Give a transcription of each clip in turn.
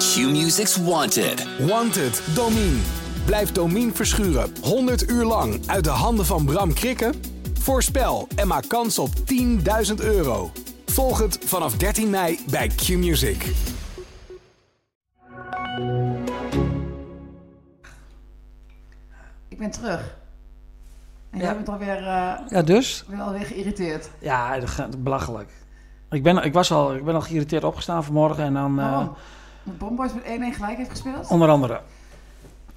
Q-Music's Wanted. Wanted, Domien. Blijf Domien verschuren 100 uur lang uit de handen van Bram Krikke? Voorspel en maak kans op 10.000 euro. Volg het vanaf 13 mei bij Q-Music. Ik ben terug. En jij Ja. bent alweer, eh Ja, dus? ben alweer geïrriteerd. Ja, dat gaat- belachelijk. Ik ben, ik, was al, ik ben al geïrriteerd opgestaan vanmorgen en dan... eh, Waarom? Omdat Bomboys met 1-1 gelijk heeft gespeeld. onder andere.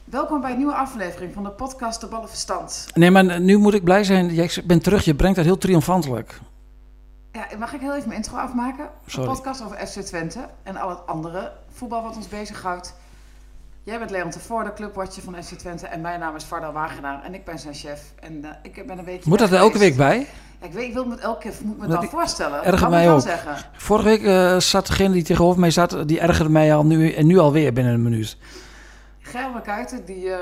Welkom bij een nieuwe aflevering van de podcast De Ballen Verstand. Nee, maar nu moet ik blij zijn. Jij bent terug. Je brengt dat heel triomfantelijk. Ja, mag ik heel even mijn intro afmaken? Sorry. Een podcast over FC Twente en al het andere voetbal wat ons bezighoudt. Jij bent Leon Tevoort, de clubwatcher van FC Twente. En mijn naam is Varda Wagenaar en ik ben zijn chef. En eh, ik ben een weekje Moet weg dat er elke week geweest. bij? Ja, ik, weet, ik wil me het elke keer moet me het Dat wel ik- voorstellen. erger Erg mij wel ook. zeggen. Vorige week eh, zat degene die tegenover mij zat, die ergerde mij al nu en nu alweer binnen een minuut. Gerben Kuiten, die eh,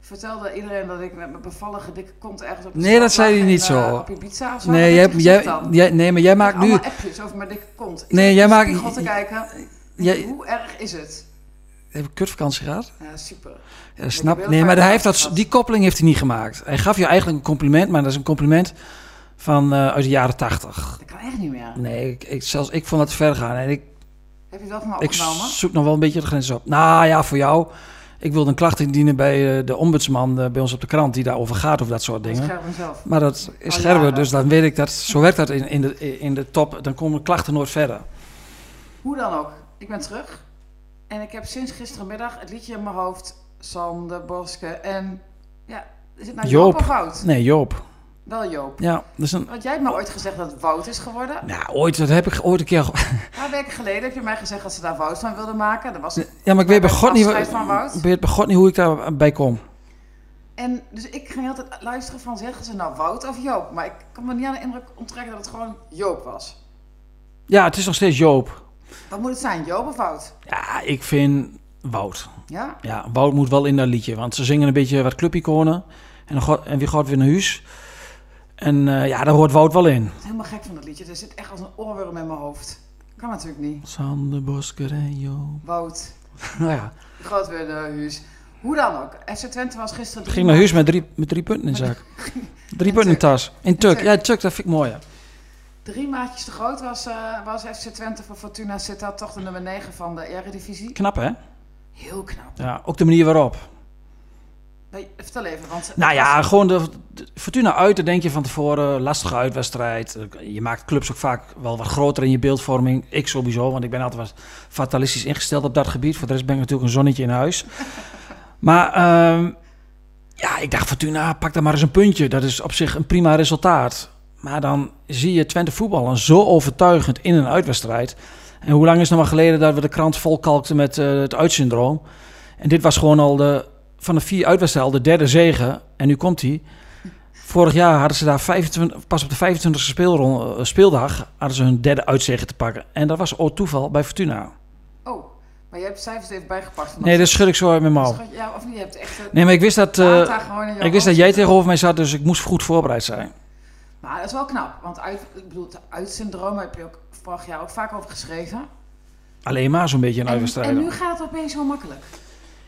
vertelde iedereen dat ik met mijn bevallige dikke kont ergens op de Nee, strand dat zei lag hij en, niet eh, zo. op Ibiza of zo. Nee, Dat jij, heb ik gezegd jij, dan. jij, nee, maar jij Ik maakt kreeg nu. allemaal appjes over mijn dikke kont. Ik Nee, zat jij in de maakt- spiegel te kijken. Jij, Hoe erg is het? heb ik kutvakantie gehad? Ja, super. Ja, snap. heel Nee, vaak maar hij heeft dat, gehad. die koppeling heeft hij niet gemaakt. Hij gaf je eigenlijk een compliment, maar dat is een compliment van, eh, uit de jaren tachtig. Dat kan echt niet meer. Nee, ik, ik- zelfs ik vond dat ver gaan. En ik, Heb je het wel van me ik opgenomen? zoek nog wel een beetje de grens op. Nou ja, voor jou. Ik wilde een klacht indienen bij eh, de ombudsman eh, bij ons op de krant, die daarover gaat of dat soort Ik dingen. scherp Oh, mezelf. Maar dat is Al scherper, jaren. dus dan weet ik dat. Zo werkt dat in, in, de, in de top. Dan komen klachten nooit verder. Hoe dan ook, ik ben terug. En ik heb sinds gisterenmiddag het liedje in mijn hoofd. Sander Boske en... Ja, is het nou Joop, Joop. of Wout? Nee, Joop. Wel Joop. Ja, dat is een. Want jij hebt me ooit gezegd dat het Wout is geworden. Nou, ooit, dat heb ik ooit een keer. ge- Een paar weken geleden heb je mij gezegd dat ze daar Wout van wilden maken. Dat was Ja, maar ik weet bij God niet, Afscheid van wa- Wout. ik weet bij God niet hoe ik daarbij kom. En dus ik ging altijd luisteren van zeggen ze nou Wout of Joop. Maar ik kan me niet aan de indruk onttrekken dat het gewoon Joop was. Ja, het is nog steeds Joop. Wat moet het zijn, Joop of Wout? Ja, ik vind Wout. Ja? Ja, Wout moet wel in dat liedje, want ze zingen een beetje wat clubiconen. En, dan God, en wie God weer naar huis. En eh, ja, daar hoort Wout wel in. Ik ben helemaal gek van dat liedje. Er zit echt als een oorworm in mijn hoofd. Kan natuurlijk niet. Sander Bosker en Joop. Wout, Nou ja, groot weer naar huis. Hoe dan ook. FC Twente was gisteren... ging naar huis met drie, met drie punten in de zak. Drie punten in de tas. In Turk. Turk. Ja, Turk, dat vind ik mooi. ja. Drie maatjes te groot was, eh, was FC Twente voor Fortuna Sittard toch de nummer 9 van de Eredivisie. Knap, hè? Heel knap. Ja, ook de manier waarop. Nee, Vertel even, want... Nou ja, gewoon de, de Fortuna uit, dan denk je van tevoren, lastige uitwedstrijd. Eh, Je maakt clubs ook vaak wel wat groter in je beeldvorming. Ik sowieso, want ik ben altijd wat fatalistisch ingesteld op dat gebied. Voor de rest ben ik natuurlijk een zonnetje in huis. Maar ehm, ja, ik dacht Fortuna, pak daar maar eens een puntje. Dat is op zich een prima resultaat. Maar dan zie je Twente voetballen zo overtuigend in een uitwedstrijd. En hoe lang is het nog maar geleden dat we de krant volkalkten met eh, het uitsyndroom? En dit was gewoon al de, van de vier uitwedstrijden al de derde zege. En nu komt hij. Vorig jaar hadden ze daar 25, pas op de 25e speelron- eh, speeldag hadden ze hun derde uitzege te pakken. En dat was ook toeval bij Fortuna. Oh, maar je hebt cijfers er even bijgepakt. van Nee, dat schud ik zo uit mijn mouw. Schat, Ja, of niet, je hebt echt... een- Oh. Nee, maar ik wist dat, eh, Data gewoon in je ik wist dat hoofd. jij tegenover mij zat, dus ik moest goed voorbereid zijn. Maar dat is wel knap, want uit, ik bedoel, het uitsyndroom heb je ook vorig jaar ook vaak over geschreven. Alleen maar zo'n beetje een En, en uitwedstrijd. nu gaat het opeens zo makkelijk.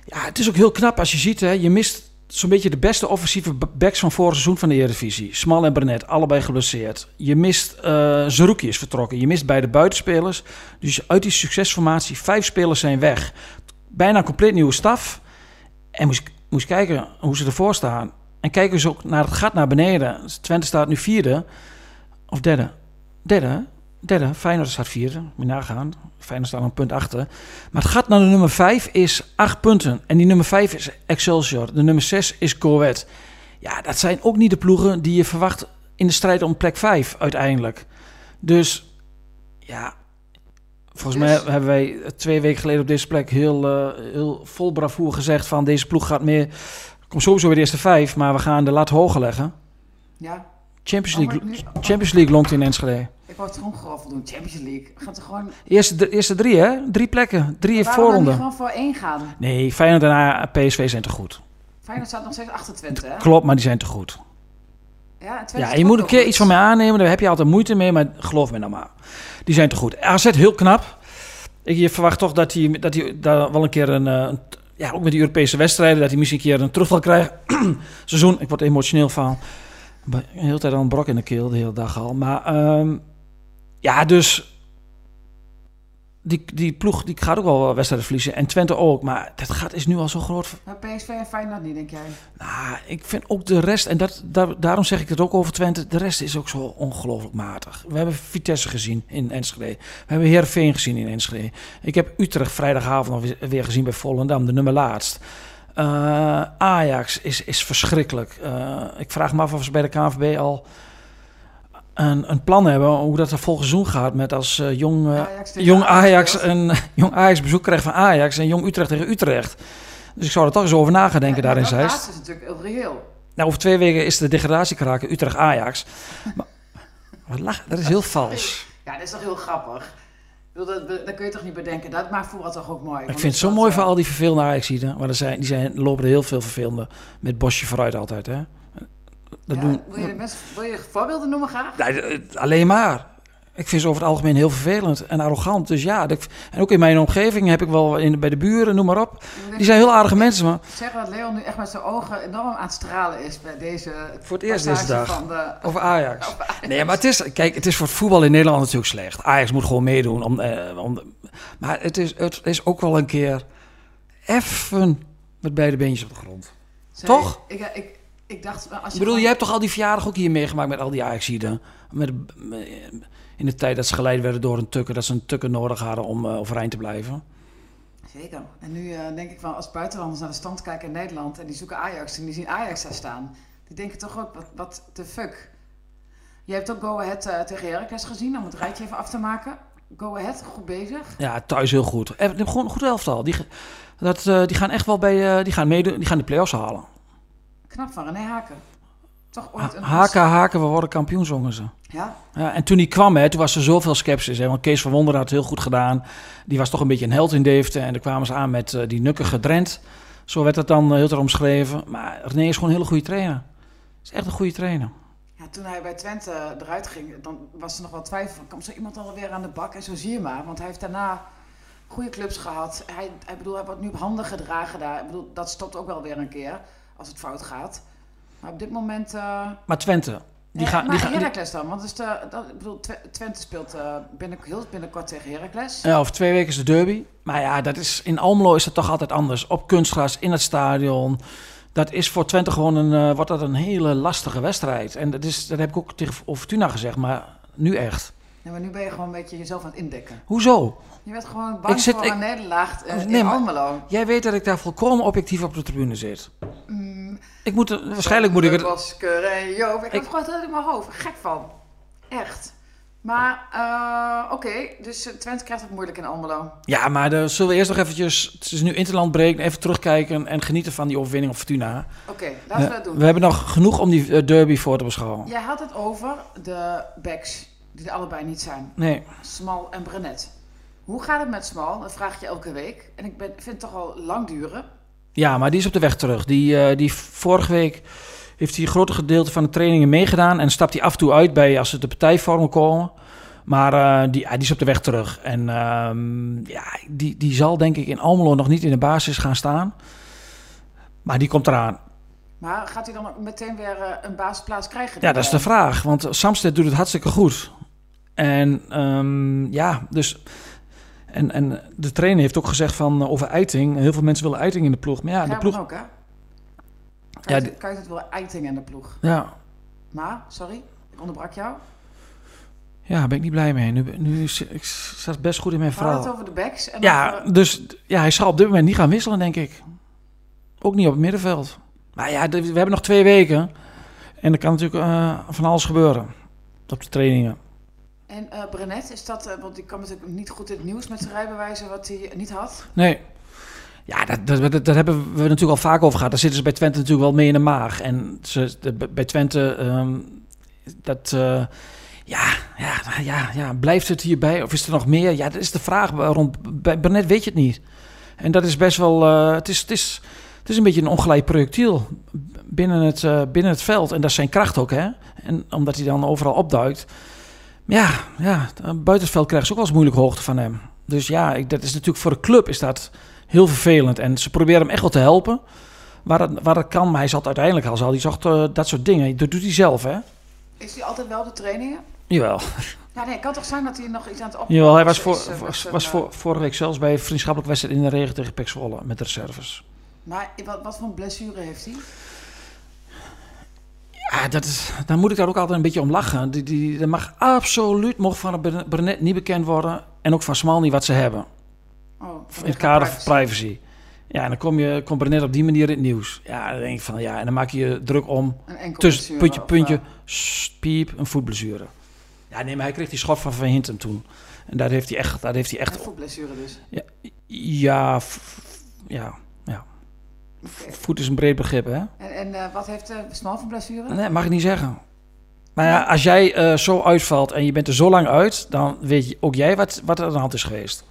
Ja, het is ook heel knap als je ziet, hè, je mist zo'n beetje de beste offensieve b- backs van vorig seizoen van de Eredivisie. Smal en Brenet, allebei geblesseerd. Je mist, eh Zerouki is vertrokken. Je mist beide buitenspelers. Dus uit die succesformatie, vijf spelers zijn weg. Bijna een compleet nieuwe staf. En moest, moest kijken hoe ze ervoor staan. En kijken ze ook naar het gat naar beneden. Twente staat nu vierde. Of derde. Derde, hè? Derde. Feyenoord staat vierde. Moet je nagaan. Feyenoord staat een punt achter. Maar het gaat naar de nummer 5 is 8 punten. En die nummer 5 is Excelsior. De nummer 6 is Corvette. Ja, dat zijn ook niet de ploegen die je verwacht in de strijd om plek 5 uiteindelijk. Dus ja, volgens Dus? mij hebben wij twee weken geleden op deze plek heel, eh, heel vol bravoer gezegd van deze ploeg gaat meer... Komt sowieso weer de eerste vijf, maar we gaan de lat hoger leggen. Ja, Champions Oh, maar League, nu- Champions League longt in Enschede. ik wou het gewoon geroffel doen, Champions League. We gaan er gewoon... Eerste, de eerste drie, hè? Drie plekken. Drie Waarom dan niet voorronden. gewoon voor één gaan? Nee, Feyenoord en A- PSV zijn te goed. Feyenoord staat nog steeds achter Twente, hè? Klopt, maar die zijn te goed. Ja, en Twente is Ja, je ook moet een nog keer goed. iets van mij aannemen. Daar heb je altijd moeite mee, maar geloof me nou maar. Die zijn te goed. AZ heel knap. Ik, je verwacht toch dat hij, dat hij daar wel een keer een... eh, een- ja, ook met die Europese wedstrijden, dat hij misschien een keer een terugval krijgt. Seizoen, ik word emotioneel van. Maar De hele tijd al een brok in de keel, de hele dag al. Maar ehm, ja, dus... Die, die ploeg die gaat ook wel wedstrijden verliezen. En Twente ook. Maar dat gaat is nu al zo groot. Maar PSV en Feyenoord niet, denk jij? Nou, ik vind ook de rest, en dat, daar- daarom zeg ik het ook over Twente, de rest is ook zo ongelooflijk matig. We hebben Vitesse gezien in Enschede. We hebben Heerenveen gezien in Enschede. Ik heb Utrecht vrijdagavond nog weer- weer gezien bij Volendam, de nummer laatst. Eh, Ajax is, is verschrikkelijk. Eh, ik vraag me af of ze bij de KNVB al een, een plan hebben hoe dat er volgend seizoen gaat met als eh, jong... eh, Ajax tegen Jong Ajax, speelt. een, jong Ajax bezoek krijgt van Ajax en Jong Utrecht tegen Utrecht. Dus ik zou er toch eens over na gaan denken Ja, daarin, maar dat Zeist. laatste is natuurlijk heel reëel. Nou, over twee weken is de degradatie kraken Utrecht-Ajax. Maar, wat lach- dat is heel vals. Ja, dat is toch heel grappig? Ik bedoel, dat, dat kun je toch niet bedenken? Dat maakt voetbal toch ook mooi? Ik vind het zo mooi voor al die vervelende Ajaxiden. Maar er zijn, die zijn, lopen er heel veel vervelende met bosje vooruit altijd. Hè? Dat doen, Wil je, de mensen, wil je voorbeelden noemen graag? Nee, eh, alleen maar. Ik vind ze over het algemeen heel vervelend en arrogant. Dus ja, dat- en ook in mijn omgeving heb ik wel in, bij de buren, noem maar op. Die zijn heel aardige mensen, maar Zeggen dat Leon nu echt met zijn ogen enorm aan het stralen is bij deze Voor het eerst passage deze dag. van de... Over Ajax. Nee, maar het is, kijk, het is voor het voetbal in Nederland natuurlijk slecht. Ajax moet gewoon meedoen. Om, eh, om, maar het is, het is ook wel een keer even met beide beentjes op de grond. Sorry, Toch? Ik, eh, ik, ik dacht... eh, Als Ik je bedoel, gewoon- jij hebt toch al die verjaardag ook hier meegemaakt met al die Ajaxiden? Met, eh, in de tijd dat ze geleid werden door een tukker, dat ze een tukker nodig hadden om eh, overeind te blijven. Zeker. En nu eh, denk ik wel, als buitenlanders naar de stand kijken in Nederland en die zoeken Ajax en die zien Ajax daar staan, die denken toch ook, wat, wat de fuck. Je hebt ook Go Ahead eh, tegen Heracles gezien, om het rijtje even af te maken. Go Ahead, goed bezig. Ja, thuis heel goed. Eh, Gewoon een goed elftal. Die, ge- dat, eh, die gaan echt wel bij, eh, die gaan meedoen, die gaan de play-offs halen. Knap van René Haken. Toch ooit Ha- een... Haken, haken, we worden kampioen, zongen ze. Ja, Ja, en toen hij kwam, hè, toen was er zoveel sceptisch. Hè, want Kees van Wonderen had het heel goed gedaan. Die was toch een beetje een held in Deventer. En daar kwamen ze aan met eh, die nukkige Drent. Zo werd dat dan eh, heel erg omschreven. Maar René is gewoon een hele goede trainer. Is echt een goede trainer. Ja, toen hij bij Twente eruit ging, dan was er nog wel twijfel van, komt zo iemand alweer aan de bak? En zo zie je maar, want hij heeft daarna goede clubs gehad. Hij, hij, bedoel, hij wordt nu op handen gedragen daar. Ik bedoel, dat stopt ook wel weer een keer, als het fout gaat. Maar op dit moment... eh, Maar Twente, die Ja, gaan... maar Die gaan die- Heracles dan, want dus de, dat, ik bedoel, Twe- Twente speelt eh, binnen, heel binnenkort tegen Heracles. ja, over twee weken is de derby. Maar ja, dat is, in Almelo is dat toch altijd anders. Op kunstgras, in het stadion. Dat is voor Twente gewoon een, eh, wordt dat een hele lastige wedstrijd. En dat, is, dat heb ik ook tegen Fortuna gezegd, maar nu echt. Ja, maar nu ben je gewoon een beetje jezelf aan het indekken. Hoezo? Je bent gewoon bang Ik zit- voor ik- een nederlaag eh, Nee, in maar- Almelo. Jij weet dat ik daar volkomen objectief op de tribune zit. Mm. Ik moet, er- waarschijnlijk moet ik Eh, het... Bosker en Joop. Ik, Ik- heb gewoon dat in mijn hoofd. Gek van. Echt. Maar, eh, oké. Dus eh, Twente krijgt het moeilijk in Almelo. Ja, maar dan zullen we eerst nog eventjes... Het is nu Interland break, even terugkijken en genieten van die overwinning op Fortuna. Oké, laten we Eh, dat doen. we hebben nog genoeg om die eh, derby voor te beschouwen. Jij had het over de backs, die er allebei niet zijn. Nee, Smal en Brenet. Hoe gaat het met Smal? Dat vraag ik je elke week. En ik ben, vind het toch al lang duren. ja, maar die is op de weg terug. Die, eh, die vorige week heeft hij een groot gedeelte van de trainingen meegedaan... en stapt hij af en toe uit bij als ze de partijvormen komen... Maar eh, die, ja, die is op de weg terug. En ehm, ja, die, die zal denk ik in Almelo nog niet in de basis gaan staan. Maar die komt eraan. Maar gaat hij dan ook meteen weer eh, een basisplaats krijgen? eh, Ja, dat is de vraag. Want Samsted doet het hartstikke goed. En ehm, ja, dus. En, en de trainer heeft ook gezegd van eh, over eiting. Heel veel mensen willen eiting in de ploeg. Maar ja, de ploeg. ook, hè? Ja, Kan die- je het wel eiting in de ploeg? Ja, Maar, sorry, ik onderbrak jou. ja, daar ben ik niet blij mee. Nu, nu is- ik zat best goed in mijn We hadden het verhaal. over de backs. En Ja, over- dus ja, hij zal op dit moment niet gaan wisselen, denk ik. Ook niet op het middenveld. Maar ja, de- we hebben nog twee weken. En er kan natuurlijk eh, van alles gebeuren op de trainingen. en eh Brenet, is dat, eh, want die kwam natuurlijk niet goed in het nieuws met zijn rijbewijzen wat hij niet had. Nee. Ja, dat, dat, dat, dat hebben we natuurlijk al vaak over gehad. Daar zitten ze bij Twente natuurlijk wel mee in de maag. En ze, de- bij Twente, ehm, dat... eh, ja, ja, ja, ja, blijft het hierbij? Of is er nog meer? Ja, dat is de vraag. Waarom? Bij Barnet weet je het niet. En dat is best wel... eh, het, is, het, is, het is een beetje een ongelijk projectiel binnen het, eh, binnen het veld. En dat is zijn kracht ook, hè? En omdat hij dan overal opduikt. Maar Ja, ja, buiten het veld krijgen ze ook wel eens moeilijke hoogte van hem. Dus ja, ik, dat is natuurlijk voor de club is dat heel vervelend. En ze proberen hem echt wel te helpen. Waar dat, waar dat kan, maar hij zat uiteindelijk al, zal hij zocht eh, dat soort dingen. Dat doet hij zelf, hè? Is hij altijd wel op de trainingen? Jawel. Ja, nee, het kan toch zijn dat hij nog iets aan het opnemen Jawel, hij was, voor, is, eh, met was, zijn, was eh, voor, vorige week zelfs bij een vriendschappelijke wedstrijd in de regen tegen Pek Zwolle met de reserves. Maar wat, wat voor een blessure heeft hij? Oh, Ja, dat is, daar moet ik daar ook altijd een beetje om lachen. Die, die, dat mag absoluut mocht van Berne- Burnett niet bekend worden. En ook van Smal niet wat ze hebben. Oh, In het kader van privacy. Ja, en dan kom je, komt Burnett op die manier in het nieuws. Ja, dan denk ik van ja, en dan maak je je druk om. Een enkel Tussen puntje, blessure, puntje, of, eh, sst, piep, een voetblessure. Ja, nee, maar hij kreeg die schot van Van Hintem toen. En daar heeft hij echt, daar heeft hij eh, echt, Een voetblessure dus. ja, f- f- ja, ja. Oké. Voet is een breed begrip, hè? En, en eh, wat heeft eh Smal voor blessure? Nee, mag ik niet zeggen. Maar ja, als jij eh, zo uitvalt en je bent er zo lang uit, dan weet je, ook jij wat, wat er aan de hand is geweest.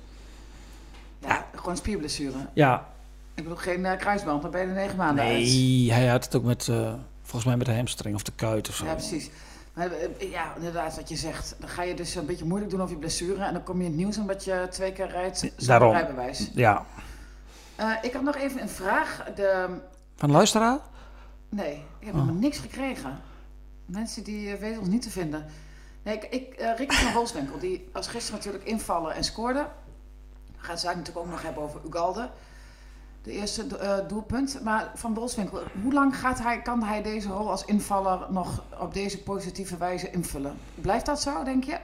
Ja, gewoon spierblessure. Ja, Ik bedoel, geen eh, kruisband, maar ben je er negen maanden uit. nee, hij had het ook met, eh, volgens mij met de hamstring of de kuit of zo. Ja, precies. Maar eh, ja, inderdaad, wat je zegt. Dan ga je dus een beetje moeilijk doen over je blessure. En dan kom je in het nieuws omdat je twee keer rijdt zonder Daarom. rijbewijs. Ja. Eh, ik had nog even een vraag. De, Van de luisteraar? nee, ik Oh. heb helemaal niks gekregen. Mensen die eh, weten ons niet te vinden. Nee, ik, ik, eh, Ricky van Wolfswinkel, die als gisteren natuurlijk invallen en scoorde. We gaan het daar natuurlijk ook nog hebben over Ugalde. De eerste do- eh, doelpunt. Maar van Wolfswinkel, hoe lang gaat hij, kan hij deze rol als invaller nog op deze positieve wijze invullen? Blijft dat zo, denk je?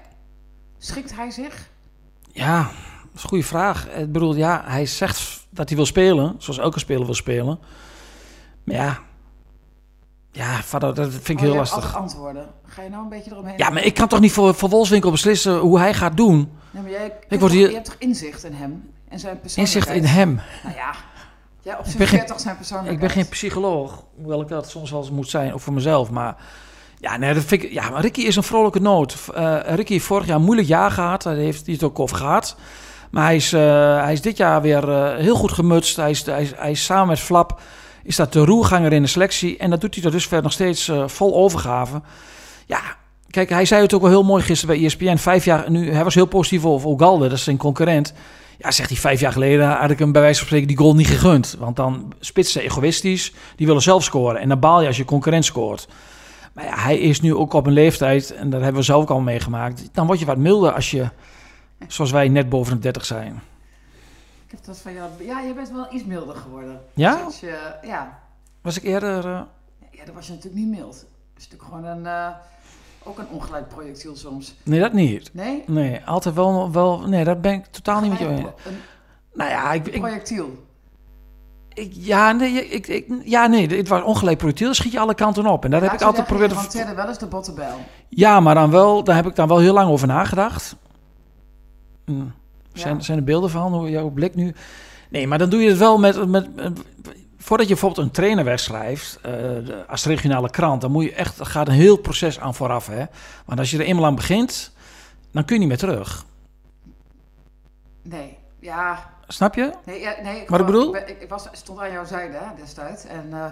Schikt hij zich? Ja, dat is een goede vraag. Eh, Ik bedoel, ja, hij zegt dat hij wil spelen, zoals elke speler wil spelen. Maar ja, ja vader, dat vind ik Oh, heel je hebt lastig. altijd antwoorden. Ga je nou een beetje eromheen? Ja, maar ik kan toch niet voor, voor Wolfswinkel beslissen hoe hij gaat doen? Nee, maar jij kunt word toch- hier- Je hebt toch inzicht in hem? En zijn persoonlijkheid? Inzicht in hem. Nou ja, jij ben geen- observeert toch zijn Ik persoonlijkheid? ben geen psycholoog, hoewel ik dat soms wel eens moet zijn, of voor mezelf. Maar ja, nee, dat vind ik, ja maar Ricky is een vrolijke noot. Eh, Ricky heeft vorig jaar een moeilijk jaar gehad, daar heeft hij het ook over gehad. Maar hij is, eh, hij is dit jaar weer eh, heel goed gemutst. Hij is, hij, is, hij is samen met Flap is dat de roerganger in de selectie. En dat doet hij tot dusver nog steeds eh, vol overgave. Ja, kijk, hij zei het ook wel heel mooi gisteren bij E ESPN. Vijf jaar, nu, hij was heel positief over Ogalde, dat is zijn concurrent. Ja, zegt hij, vijf jaar geleden had ik hem bij wijze van spreken die goal niet gegund. Want dan spitsen egoïstisch, die willen zelf scoren. En dan baal je als je concurrent scoort. Maar ja, hij is nu ook op een leeftijd, en dat hebben we zelf ook al meegemaakt. Dan word je wat milder als je, zoals wij, net boven de 30 zijn. Ik heb dat van jou... Ja, je bent wel iets milder geworden. Ja? Dus je, ja. Was ik eerder... eh, ja, dan was je natuurlijk niet mild. Dat is natuurlijk gewoon een... eh, ook een ongelijk projectiel soms. Nee, dat niet. Nee? Nee, altijd wel... wel nee, dat ben ik totaal niet met je eens. Een pro- Nou ja, ik, Een ik, projectiel. ik- ja, nee, ik, ik, ja, nee, het was ongelijk projectiel. Schiet je alle kanten op. En dat heb ik altijd geprobeerd... Van te- Tedder wel eens de bottenbel. Ja, maar dan wel, daar heb ik dan wel heel lang over nagedacht. Hm. Zijn, Ja. zijn er beelden van, hoe jouw blik nu... Nee, maar dan doe je het wel met... met, met- voordat je bijvoorbeeld een trainer wegschrijft eh, de- als regionale krant... dan moet je echt, daar gaat een heel proces aan vooraf. Hè? Want als je er eenmaal aan begint, dan kun je niet meer terug. Nee. Ja. Snap je? Nee, ja, nee ik, Wat gewoon- ik bedoel? ben- Ik, ik was, stond aan jouw zijde hè, destijds. En eh,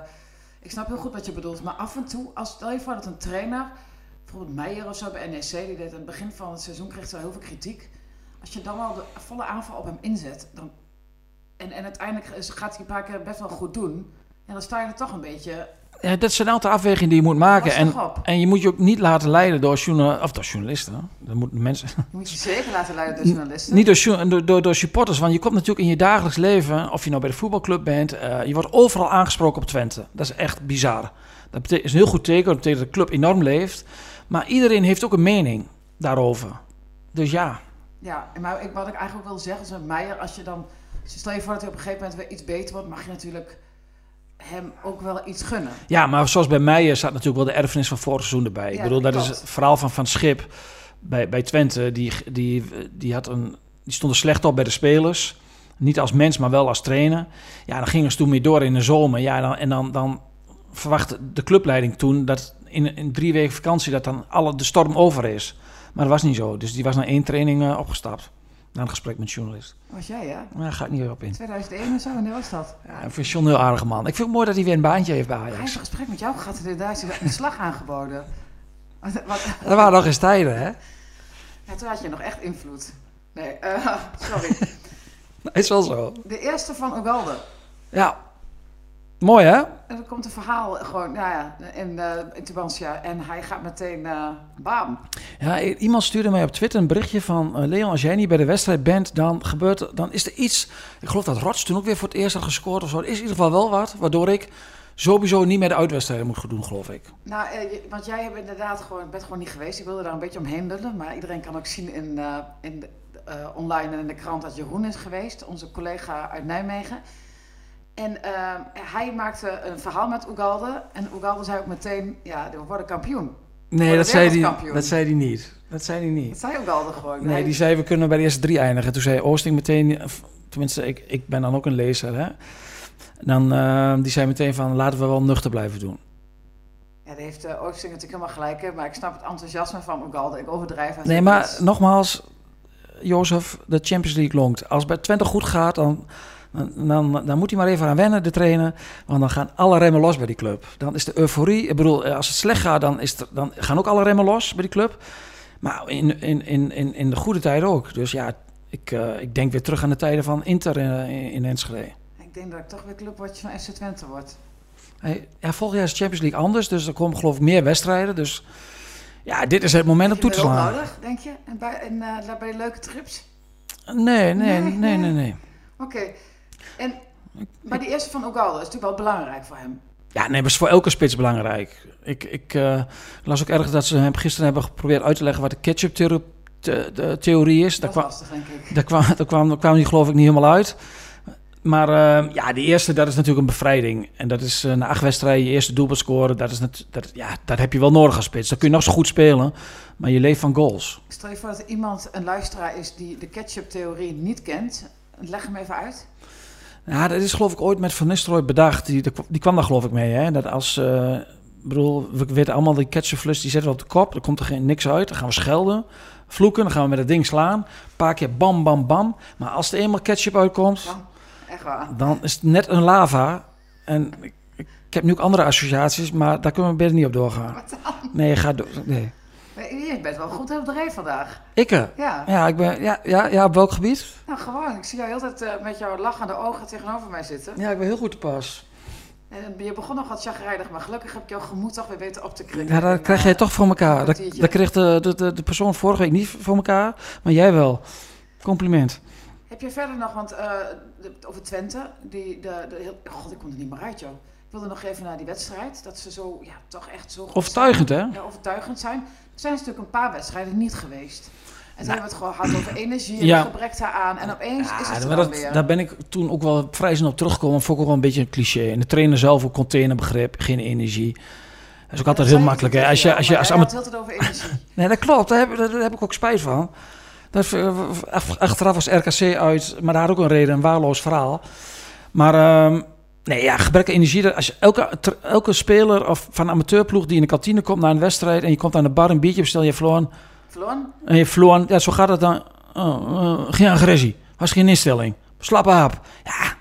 ik snap heel goed wat je bedoelt. Maar af en toe, als, stel je voor dat een trainer... Bijvoorbeeld Meijer of zo bij NEC, die deed aan het begin van het seizoen kreeg ze wel heel veel kritiek. Als je dan al de volle aanval op hem inzet, dan, en, en uiteindelijk is- gaat hij een paar keer best wel goed doen. En dan sta je er toch een beetje. Ja, dat zijn altijd afwegingen die je moet maken. En, Lastig op. en je moet je ook niet laten leiden door, journa- of door journalisten. Dat moeten mensen... Je moet je zeker laten leiden door journalisten. Niet door, su- door, door, door supporters, want je komt natuurlijk in je dagelijks leven, of je nou bij de voetbalclub bent, eh, je wordt overal aangesproken op Twente. Dat is echt bizar. Dat bete- is een heel goed teken, dat betekent dat de club enorm leeft. Maar iedereen heeft ook een mening daarover. Dus ja, Ja, maar ik, wat ik eigenlijk ook wil zeggen is met Meijer, als je dan. Stel je voor dat hij op een gegeven moment weer iets beter wordt, mag je natuurlijk hem ook wel iets gunnen. ja maar zoals bij mij eh, staat natuurlijk wel de erfenis van vorig seizoen erbij. ik Ja, bedoel, dat klopt. is het verhaal van Van Schip bij, bij Twente. Die, die, die, had een, die stond er slecht op bij de spelers. Niet als mens, maar wel als trainer. Ja, dan gingen ze toen mee door in de zomer. Ja, dan, en dan, dan verwachtte de clubleiding toen dat in, in drie weken vakantie dat dan alle, de storm over is. Maar dat was niet zo. Dus die was na één training eh, opgestapt. Na een gesprek met een journalist. Was jij, ja? Maar daar ga ik niet weer op in. 2001 of zo, wanneer was dat? Ja, ik vind John een heel aardige man. Ik vind het mooi dat hij weer een baantje heeft bij Hij heeft Ajax. een gesprek met jou gehad en daar is hij een slag aangeboden. Wat, wat, Dat waren nog eens tijden, hè? ja, toen had je nog echt invloed. Nee, eh, sorry. Is wel zo. De eerste van Ugalde. Ja. Mooi, hè? En er komt een verhaal gewoon, nou ja, in, eh in Tubantia. En hij gaat meteen, eh bam. Ja, i- iemand stuurde mij op Twitter een berichtje van... eh, Leon, als jij niet bij de wedstrijd bent, dan, gebeurt, er- dan is er iets... Ik geloof dat Rots toen ook weer voor het eerst had gescoord of zo. Er is in ieder geval wel wat, waardoor ik sowieso niet meer de uitwedstrijden moet gaan doen, geloof ik. Nou, eh, je- want jij hebt inderdaad gewoon, bent gewoon niet geweest. Ik wilde daar een beetje omheen lullen. Maar iedereen kan ook zien in, eh, in de- eh, online en in de krant dat Jeroen is geweest. Onze collega uit Nijmegen. En eh, hij maakte een verhaal met Ugalde. En Ugalde zei ook meteen, ja, we worden kampioen. Nee, Voor de dat zei, hij, wereldkampioen. dat zei hij niet. Dat zei hij Dat niet. zei Ugalde gewoon. Nee, Hij- die zei we kunnen bij de eerste drie eindigen. Toen zei Oosting meteen... of, Tenminste, ik, ik ben dan ook een lezer, hè? Dan, eh, die zei meteen van laten we wel nuchter blijven doen. Ja, daar heeft uh, Oosting natuurlijk helemaal gelijk in, maar ik snap het enthousiasme van Ugalde. Ik overdrijf het Nee, niet maar eens. nogmaals, Jozef, de Champions League longt. Als het bij Twente goed gaat, dan, dan, dan, dan moet hij maar even aan wennen, de trainer. Want dan gaan alle remmen los bij die club. Dan is de euforie, ik bedoel, eh, als het slecht gaat, dan, is er, dan gaan ook alle remmen los bij die club. Maar in, in, in, in, in de goede tijden ook. Dus ja, ik, eh, ik denk weer terug aan de tijden van Inter in, in, in Enschede. Ik denk dat ik toch weer clubwatch van FC Twente word. Hey, ja, volgend jaar is de Champions League anders, dus er komen geloof ik meer wedstrijden. Dus ja, dit is het moment om toe Heb te je dat ook slaan. nodig, denk je? En bij, en, eh, bij de leuke trips? Nee, nee, Nee, nee, nee, nee. nee. Oké. En, maar die eerste van Ugalde is natuurlijk wel belangrijk voor hem. Ja, nee, maar het is voor elke spits belangrijk. Ik, ik eh, las ook erg dat ze hem gisteren hebben geprobeerd uit te leggen wat de ketchup-theorie is. Daar Dat is kwam, lastig, denk ik. daar, kwam, daar, kwam, daar kwam die geloof ik niet helemaal uit. Maar eh, ja, die eerste, dat is natuurlijk een bevrijding. En dat is eh, na acht wedstrijden je eerste doelpunt scoren. Dat, is nat- dat, ja, dat heb je wel nodig als spits. Dan kun je nog zo goed spelen, maar je leeft van goals. Stel je voor dat er iemand een luisteraar is die de ketchup-theorie niet kent. Leg hem even uit. Ja, dat is geloof ik ooit met Van Nistelrooy bedacht. Die, die kwam daar geloof ik mee. Hè? Dat als, eh, ik bedoel, we weten allemaal die ketchupflus, die zetten we op de kop. Er komt er geen, niks uit. Dan gaan we schelden, vloeken. Dan gaan we met het ding slaan. Een paar keer bam, bam, bam. Maar als er eenmaal ketchup uitkomt, Dan, echt waar. dan is het net een lava. En ik, ik heb nu ook andere associaties, maar daar kunnen we beter niet op doorgaan. Wat dan? Nee, ga door. Nee. Maar Je bent wel goed op de rij vandaag. Ikke. Ja. Ja, ik ben, ja, ja, ja, op welk gebied? Nou, gewoon. Ik zie jou heel de tijd eh, met jouw lachende ogen tegenover mij zitten. Ja, ik ben heel goed te pas. En je begon nog wat chagrijnig, maar gelukkig heb ik jouw gemoed toch weer weten op te krikken. Ja, dat En, krijg eh, jij toch voor elkaar. Dat, kwartiertje. dat kreeg de, de, de, de persoon vorige week niet voor elkaar, maar jij wel. Compliment. Heb je verder nog, want eh, de- over Twente, die, de, de, heel, god, ik kom er niet meer uit, joh. Ik wilde nog even naar die wedstrijd, dat ze zo, ja, toch echt zo goed Overtuigend, hè? zijn. Ja, overtuigend zijn. Er zijn natuurlijk een paar wedstrijden niet geweest. En toen hebben we het gewoon gehad over energie en Nou, Ja. gebrek daaraan. En opeens is het Ja, er maar dan dat, weer. daar ben ik toen ook wel vrij snel op teruggekomen. want Vond ik ook wel een beetje een cliché. En de trainer zelf ook containerbegrip, geen energie. Dat is ook altijd heel makkelijk. Hè? Als je, als je, als het amateur... heel over energie. Nee, dat klopt. Daar heb, daar- daar heb ik ook spijt van. Dat, eh, af- achteraf was RKC uit, maar daar had ook een reden, een waarloos verhaal. Maar ehm, nee, ja, gebrek aan energie. dat- Als je elke, ter- elke speler of van een amateurploeg die in de kantine komt naar een wedstrijd en je komt aan de bar een biertje bestellen, je hebt verloren. Verloren? En je hebt verloren. Ja, zo gaat het dan. Oh, eh, geen agressie. Was geen instelling. Slappe hap. Ja.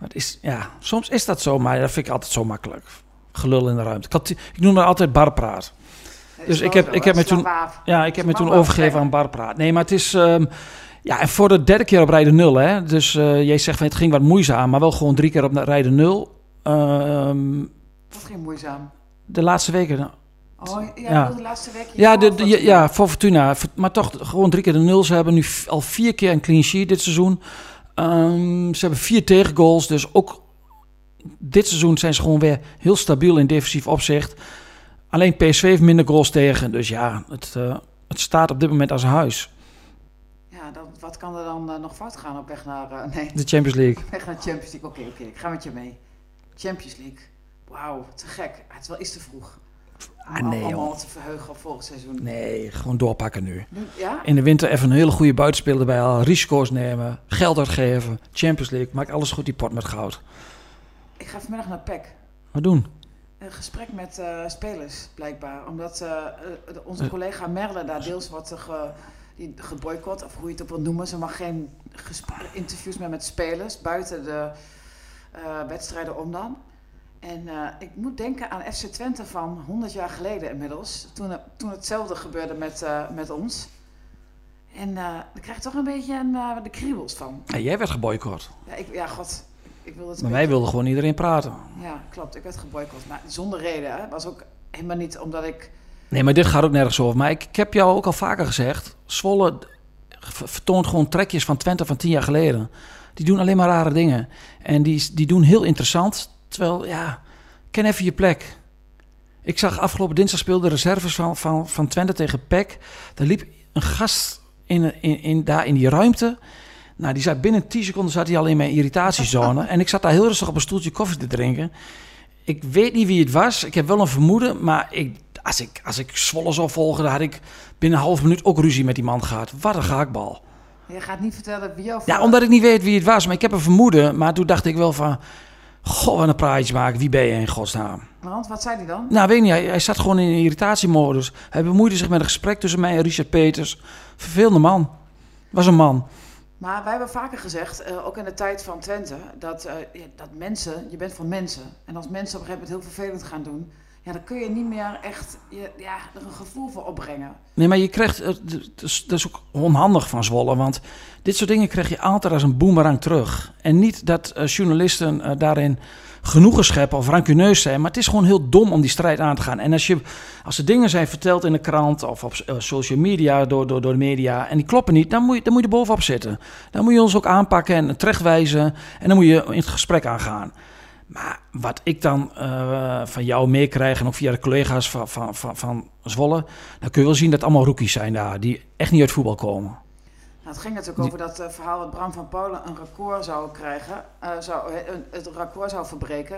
Dat is, ja, soms is dat zo, maar dat vind ik altijd zo makkelijk. Gelul in de ruimte. Kanti- Ik noem dat altijd barpraat. Dat is Dus ik wel heb- zo, ik heb hè? me toen- Slaapwaaf. Ja, ik heb me Mag toen wel overgegeven zeggen. aan barpraat. Nee, maar het is... ehm, ja, en voor de derde keer op rijden nul, hè. Dus eh, jij zegt van het ging wat moeizaam, maar wel gewoon drie keer op rijden nul. Ehm, Dat ging moeizaam. de laatste weken... nou, Oh, ja, Ja. de laatste week. Ja, de, hiervoor, de- wat- ja, voor Fortuna. Maar toch gewoon drie keer de nul. Ze hebben nu v- al vier keer een clean sheet dit seizoen. Ehm, ze hebben vier tegengoals. Dus ook dit seizoen zijn ze gewoon weer heel stabiel in defensief opzicht. Alleen PSV heeft minder goals tegen. Dus ja, het, eh, het staat op dit moment als een huis. Ja, dan, wat kan er dan eh, nog fout gaan op weg naar... eh, nee. De Champions League. Weg naar Champions League. Oké, oké, ik ga met je mee. Champions League. Wauw, te gek. Ah, het is wel iets te vroeg. Om Ah, nee, allemaal joh. te verheugen op volgend seizoen. Nee, gewoon doorpakken nu. Nu, ja? In de winter even een hele goede buitenspeler erbij halen. Risico's nemen. Geld uitgeven. Champions League. Maak alles goed die pot met goud. Ik ga vanmiddag naar E PEC. Wat doen? Een gesprek met eh, spelers, blijkbaar. Omdat eh, eh, de- onze collega Merle daar deels wordt eh, ge, die- geboycott, of hoe je het ook wil noemen. Ze mag geen gesp- interviews meer met spelers buiten de eh, wedstrijden om dan. En eh, ik moet denken aan FC Twente van 100 jaar geleden inmiddels. Toen, eh, toen hetzelfde gebeurde met, eh, met ons. En En eh, daar krijg ik toch een beetje een, eh, de kriebels van. Ja, jij werd geboycott. Ja, ik, ja god. Ik wil het Maar een wij wilden gewoon iedereen praten. beetje- Ja, klopt. Ik werd geboycott. Maar zonder reden. Hè. Was ook helemaal niet omdat ik... Nee, maar dit gaat ook nergens over. Maar ik, ik heb jou ook al vaker gezegd. Zwolle v- vertoont gewoon trekjes van Twente van tien jaar geleden. Die doen alleen maar rare dingen. En die, die doen heel interessant. Terwijl, ja, ken even je plek. Ik zag afgelopen dinsdag speelden de reserves van, van, van Twente tegen PEC. Daar liep een gast in, in, in, daar in die ruimte. Nou, die zat binnen 10 seconden zat hij al in mijn irritatiezone. en ik zat daar heel rustig op een stoeltje koffie te drinken. Ik weet niet wie het was. Ik heb wel een vermoeden. Maar ik, als, ik, als ik Zwolle zou volgen, dan had ik binnen een half minuut ook ruzie met die man gehad. Wat een gaakbal. Je gaat niet vertellen wie jou... Ja, omdat ik niet weet wie het was. Maar ik heb een vermoeden. Maar toen dacht ik wel van... Goh, wat een praatje maken. Wie ben je in godsnaam? Want, wat zei die dan? Nou, weet ik niet. Hij, hij zat gewoon in een irritatiemodus. Hij bemoeide zich met een gesprek tussen mij en Richard Peters. Vervelende man. Was een man. Maar wij hebben vaker gezegd, eh, ook in de tijd van Twente, dat, eh, ja, dat mensen, je bent van mensen. En als mensen op een gegeven moment heel vervelend gaan doen, ja, dan kun je niet meer echt je, ja, er een gevoel voor opbrengen. Nee, maar je krijgt... eh, d- d- Dat is- dat is ook onhandig van Zwolle. Want dit soort dingen krijg je altijd als een boemerang terug. En niet dat eh, journalisten eh, daarin genoegen scheppen of rancuneus zijn. Maar het is gewoon heel dom om die strijd aan te gaan. En als, je, als er dingen zijn verteld in de krant of op eh, social media door, door, door de media... en die kloppen niet, dan moet, je, dan moet je er bovenop zitten. Dan moet je ons ook aanpakken en terechtwijzen. En dan moet je in het gesprek aangaan. Maar wat ik dan eh, van jou meekrijg en ook via de collega's van, van, van, van Zwolle... dan kun je wel zien dat het allemaal rookies zijn daar... die echt niet uit voetbal komen. Nou, het ging natuurlijk over dat eh, verhaal dat Bram van Polen een record zou krijgen, eh, zou, eh, een- het record zou verbreken.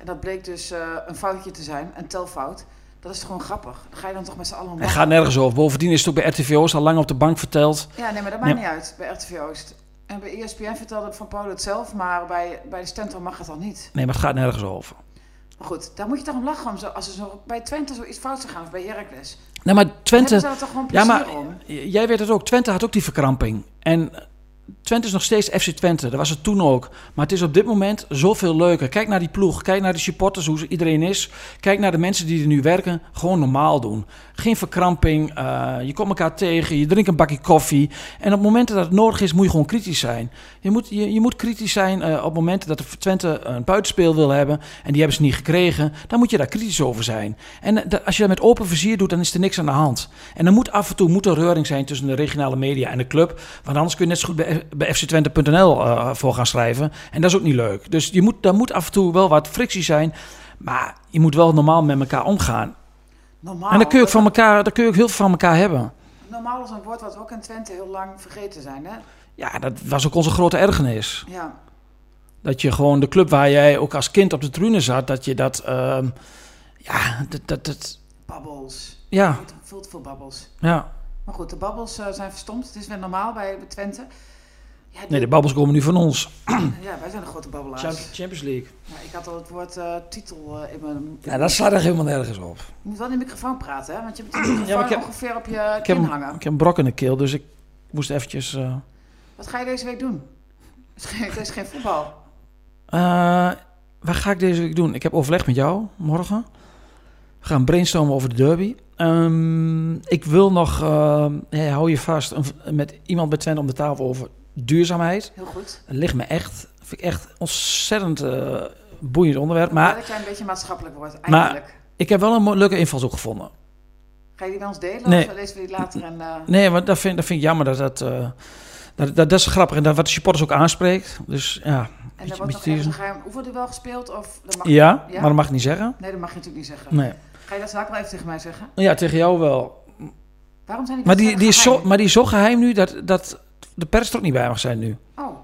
En dat bleek dus eh, een foutje te zijn, een telfout. Dat is gewoon grappig. Dan ga je dan toch met z'n allen om Het lachen. gaat nergens over. Bovendien is het ook bij RTV Oost al lang op de bank verteld. Ja, nee, maar dat maakt Nee. niet uit bij RTV Oost. En bij E ESPN vertelde Van Polen het zelf, maar bij, bij de Stentor mag het dan niet. Nee, maar het gaat nergens over. Maar goed, daar moet je toch om lachen om zo, als er zo, bij Twente zoiets fout zou gaan of bij Heracles. Nee, maar Twente... Twente... Hebben ze daar toch gewoon Ja, plezier maar om? j- jij weet het ook. Twente had ook die verkramping. En Twente is nog steeds FC Twente. Dat was het toen ook. Maar het is op dit moment zoveel leuker. Kijk naar die ploeg. Kijk naar de supporters, hoe ze- iedereen is. Kijk naar de mensen die er nu werken. Gewoon normaal doen. Geen verkramping. eh, je komt elkaar tegen. Je drinkt een bakje koffie. En op momenten dat het nodig is, moet je gewoon kritisch zijn. Je moet, je, je moet kritisch zijn eh, op momenten dat de Twente een buitenspeel wil hebben. En die hebben ze niet gekregen. Dan moet je daar kritisch over zijn. En eh, dat- als je dat met open vizier doet, dan is er niks aan de hand. En dan moet af en toe moet er reuring zijn tussen de regionale media en de club. Want anders kun je net zo goed bij, eh, bij fctwente.nl eh, voor gaan schrijven. En dat is ook niet leuk. Dus je moet, daar moet af en toe wel wat frictie zijn. Maar je moet wel normaal met elkaar omgaan. Normaal. En dan kun je ook, van elkaar, dan kun je ook heel veel van elkaar hebben. Normaal is een woord wat we ook in Twente heel lang vergeten zijn, hè? Ja, dat was ook onze grote ergernis. Ja. Dat je gewoon de club waar jij ook als kind op de trune zat, dat je dat. ehm, ja, dat, dat, dat. Babbels. Ja, Vult veel babbels. ja. Maar goed, de babbels eh, zijn verstomd. Het is weer normaal bij bij Twente. Ja, die- Nee, de babbels komen nu van ons. ja, wij zijn de grote babbelaars. Champions League. Ja, ik had al het woord eh, titel eh, in mijn... Ja, dat slaat echt helemaal nergens op. Je moet wel in de microfoon praten, hè? Want je hebt de microfoon maar ik heb- ongeveer op je Ik heb, kin een- hangen. ik heb een brok in de keel, dus ik moest eventjes. eh, Wat ga je deze week doen? Het is geen, het is geen voetbal. eh, wat ga ik deze week doen? Ik heb overleg met jou morgen. We gaan brainstormen over de derby. Ehm, ik wil nog, ehm, ja, hou je vast, een- met iemand bij Twente om de tafel over duurzaamheid. Heel goed. Dat ligt me echt. Vind ik echt ontzettend eh, boeiend onderwerp. Maar, Maar dat jij een beetje maatschappelijk wordt, Maar- eindelijk. ik heb wel een mo- leuke invalshoek gevonden. Ga je die bij ons delen? Nee. Of lezen we die later? En, eh, Nee, want dat vind, dat vind ik jammer dat dat, eh, dat, dat... dat is grappig en dat wat de supporters ook aanspreekt. Dus ja. en er beetje wordt nog mysterieus. ergens een geheim oefenduel gespeeld? Of, dat mag Ja, ja? maar dat mag ik niet zeggen. Nee, dat mag je natuurlijk niet zeggen. Nee. Ga je dat zaak wel even tegen mij zeggen? Ja, tegen jou wel. Waarom zijn die Maar die, wedstrijden die, is zo, geheim? maar die is zo geheim nu dat, dat de pers er ook niet bij mag zijn nu. Oh.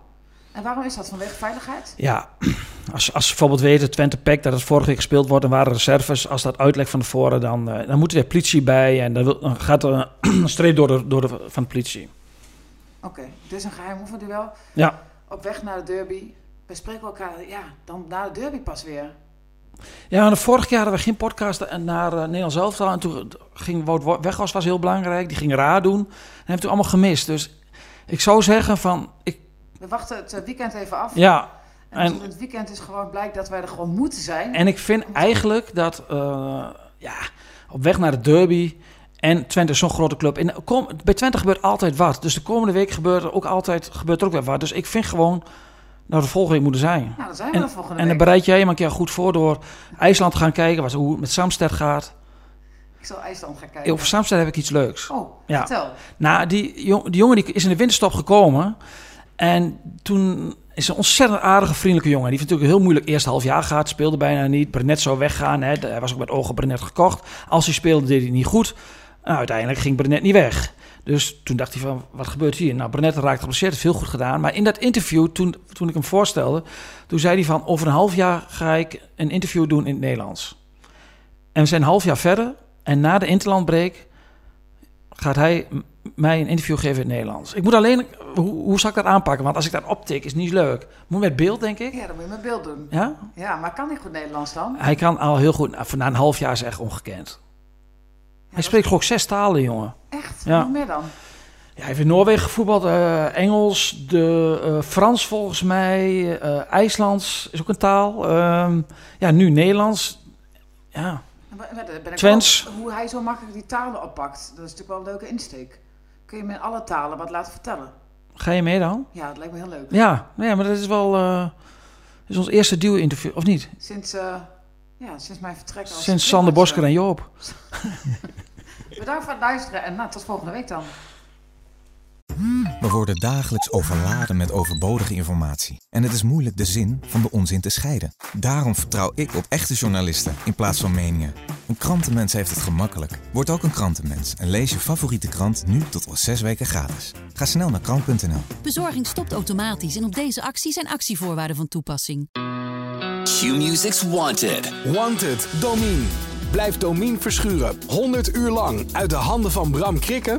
En waarom is dat? Vanwege veiligheid? Ja, als, als ze bijvoorbeeld weten, Twente Pack, dat het vorige week gespeeld wordt en waren reserves. Als dat uitlegt van tevoren, dan, eh, dan moet er weer politie bij. En dan, wil- dan gaat er een streep door de, door de, van de politie. Oké, dit is een geheim oefenduel. Ja. Op weg naar de derby. We spreken elkaar, ja, dan na de derby pas weer. Ja, en vorig jaar hadden we geen podcast en naar eh, Nederlands Elftal. En toen ging Wout Wo- Weghorst was heel belangrijk. Die ging raar doen. En hebben toen allemaal gemist. Dus ik zou zeggen van... Ik, We wachten het eh, weekend even af. ja, en als en- het in het weekend is gewoon blijkt dat wij er gewoon moeten zijn. en ik vind eigenlijk dat... eh, ja, op weg naar de derby... En Twente is zo'n grote club. En kom, bij Twente gebeurt altijd wat. Dus de komende week gebeurt er ook altijd gebeurt er ook weer wat. Dus ik vind gewoon, nou de volgende week moet er zijn. Nou, dan zijn we er volgende En dan week. bereid jij je maar een keer goed voor door IJsland te gaan kijken, wat- hoe het met Samsted gaat. Ik zal IJsland gaan kijken. Over Samsted heb ik iets leuks. Oh, Ja. vertel. Nou, die, jong- die jongen die is in de winterstop gekomen. En toen is een ontzettend aardige, vriendelijke jongen. Die heeft natuurlijk een heel moeilijk eerste half jaar gehad. Speelde bijna niet. Brenet zou weggaan. Hè. Hij was ook met ogen Brenet gekocht. Als hij speelde, deed hij niet goed. Nou, uiteindelijk ging Brenet niet weg. Dus toen dacht hij van, wat gebeurt hier? Nou, Brenet raakt geblesseerd, heeft heel goed gedaan. Maar in dat interview, toen, toen ik hem voorstelde... toen zei hij van, over een half jaar ga ik een interview doen in het Nederlands. En we zijn een half jaar verder. En na de interlandbreak gaat hij m- mij een interview geven in het Nederlands. Ik moet alleen, hoe, hoe zal ik dat aanpakken? Want als ik dat optik, is niet leuk. Moet met beeld, denk ik. Ja, dan moet je mijn beeld doen. Ja? Ja, maar kan ik goed Nederlands dan? Hij kan al heel goed, nou, voor na een half jaar is echt ongekend. Hij spreekt gewoon zes talen, jongen. Echt? Ja. Nog meer dan? Ja, hij heeft in Noorwegen gevoetbald, eh, Engels, de, eh, Frans volgens mij, eh IJslands is ook een taal. Ehm, ja, nu Nederlands. Ja, Dan ben- ben- ben ik Twents. wel- Hoe hij zo makkelijk die talen oppakt. Dat is natuurlijk wel een leuke insteek. Kun je me in alle talen wat laten vertellen? ga je mee dan? Ja, dat lijkt me heel leuk. Ja, nee, maar dat is wel, eh, dat is ons eerste duo-interview, of niet? Sinds, eh, ja, sinds mijn vertrek als... Sinds Sander Bosker en Joop. Bedankt voor het luisteren en nou, tot volgende week dan. We worden dagelijks overladen met overbodige informatie. En het is moeilijk de zin van de onzin te scheiden. Daarom vertrouw ik op echte journalisten in plaats van meningen. Een krantenmens heeft het gemakkelijk. Word ook een krantenmens en lees je favoriete krant nu tot al zes weken gratis. Ga snel naar krant.nl. Bezorging stopt automatisch en op deze actie zijn actievoorwaarden van toepassing. Q-Music's Wanted. Wanted, Domine. Blijf Domine verschuren 100 uur lang uit de handen van Bram Krikke?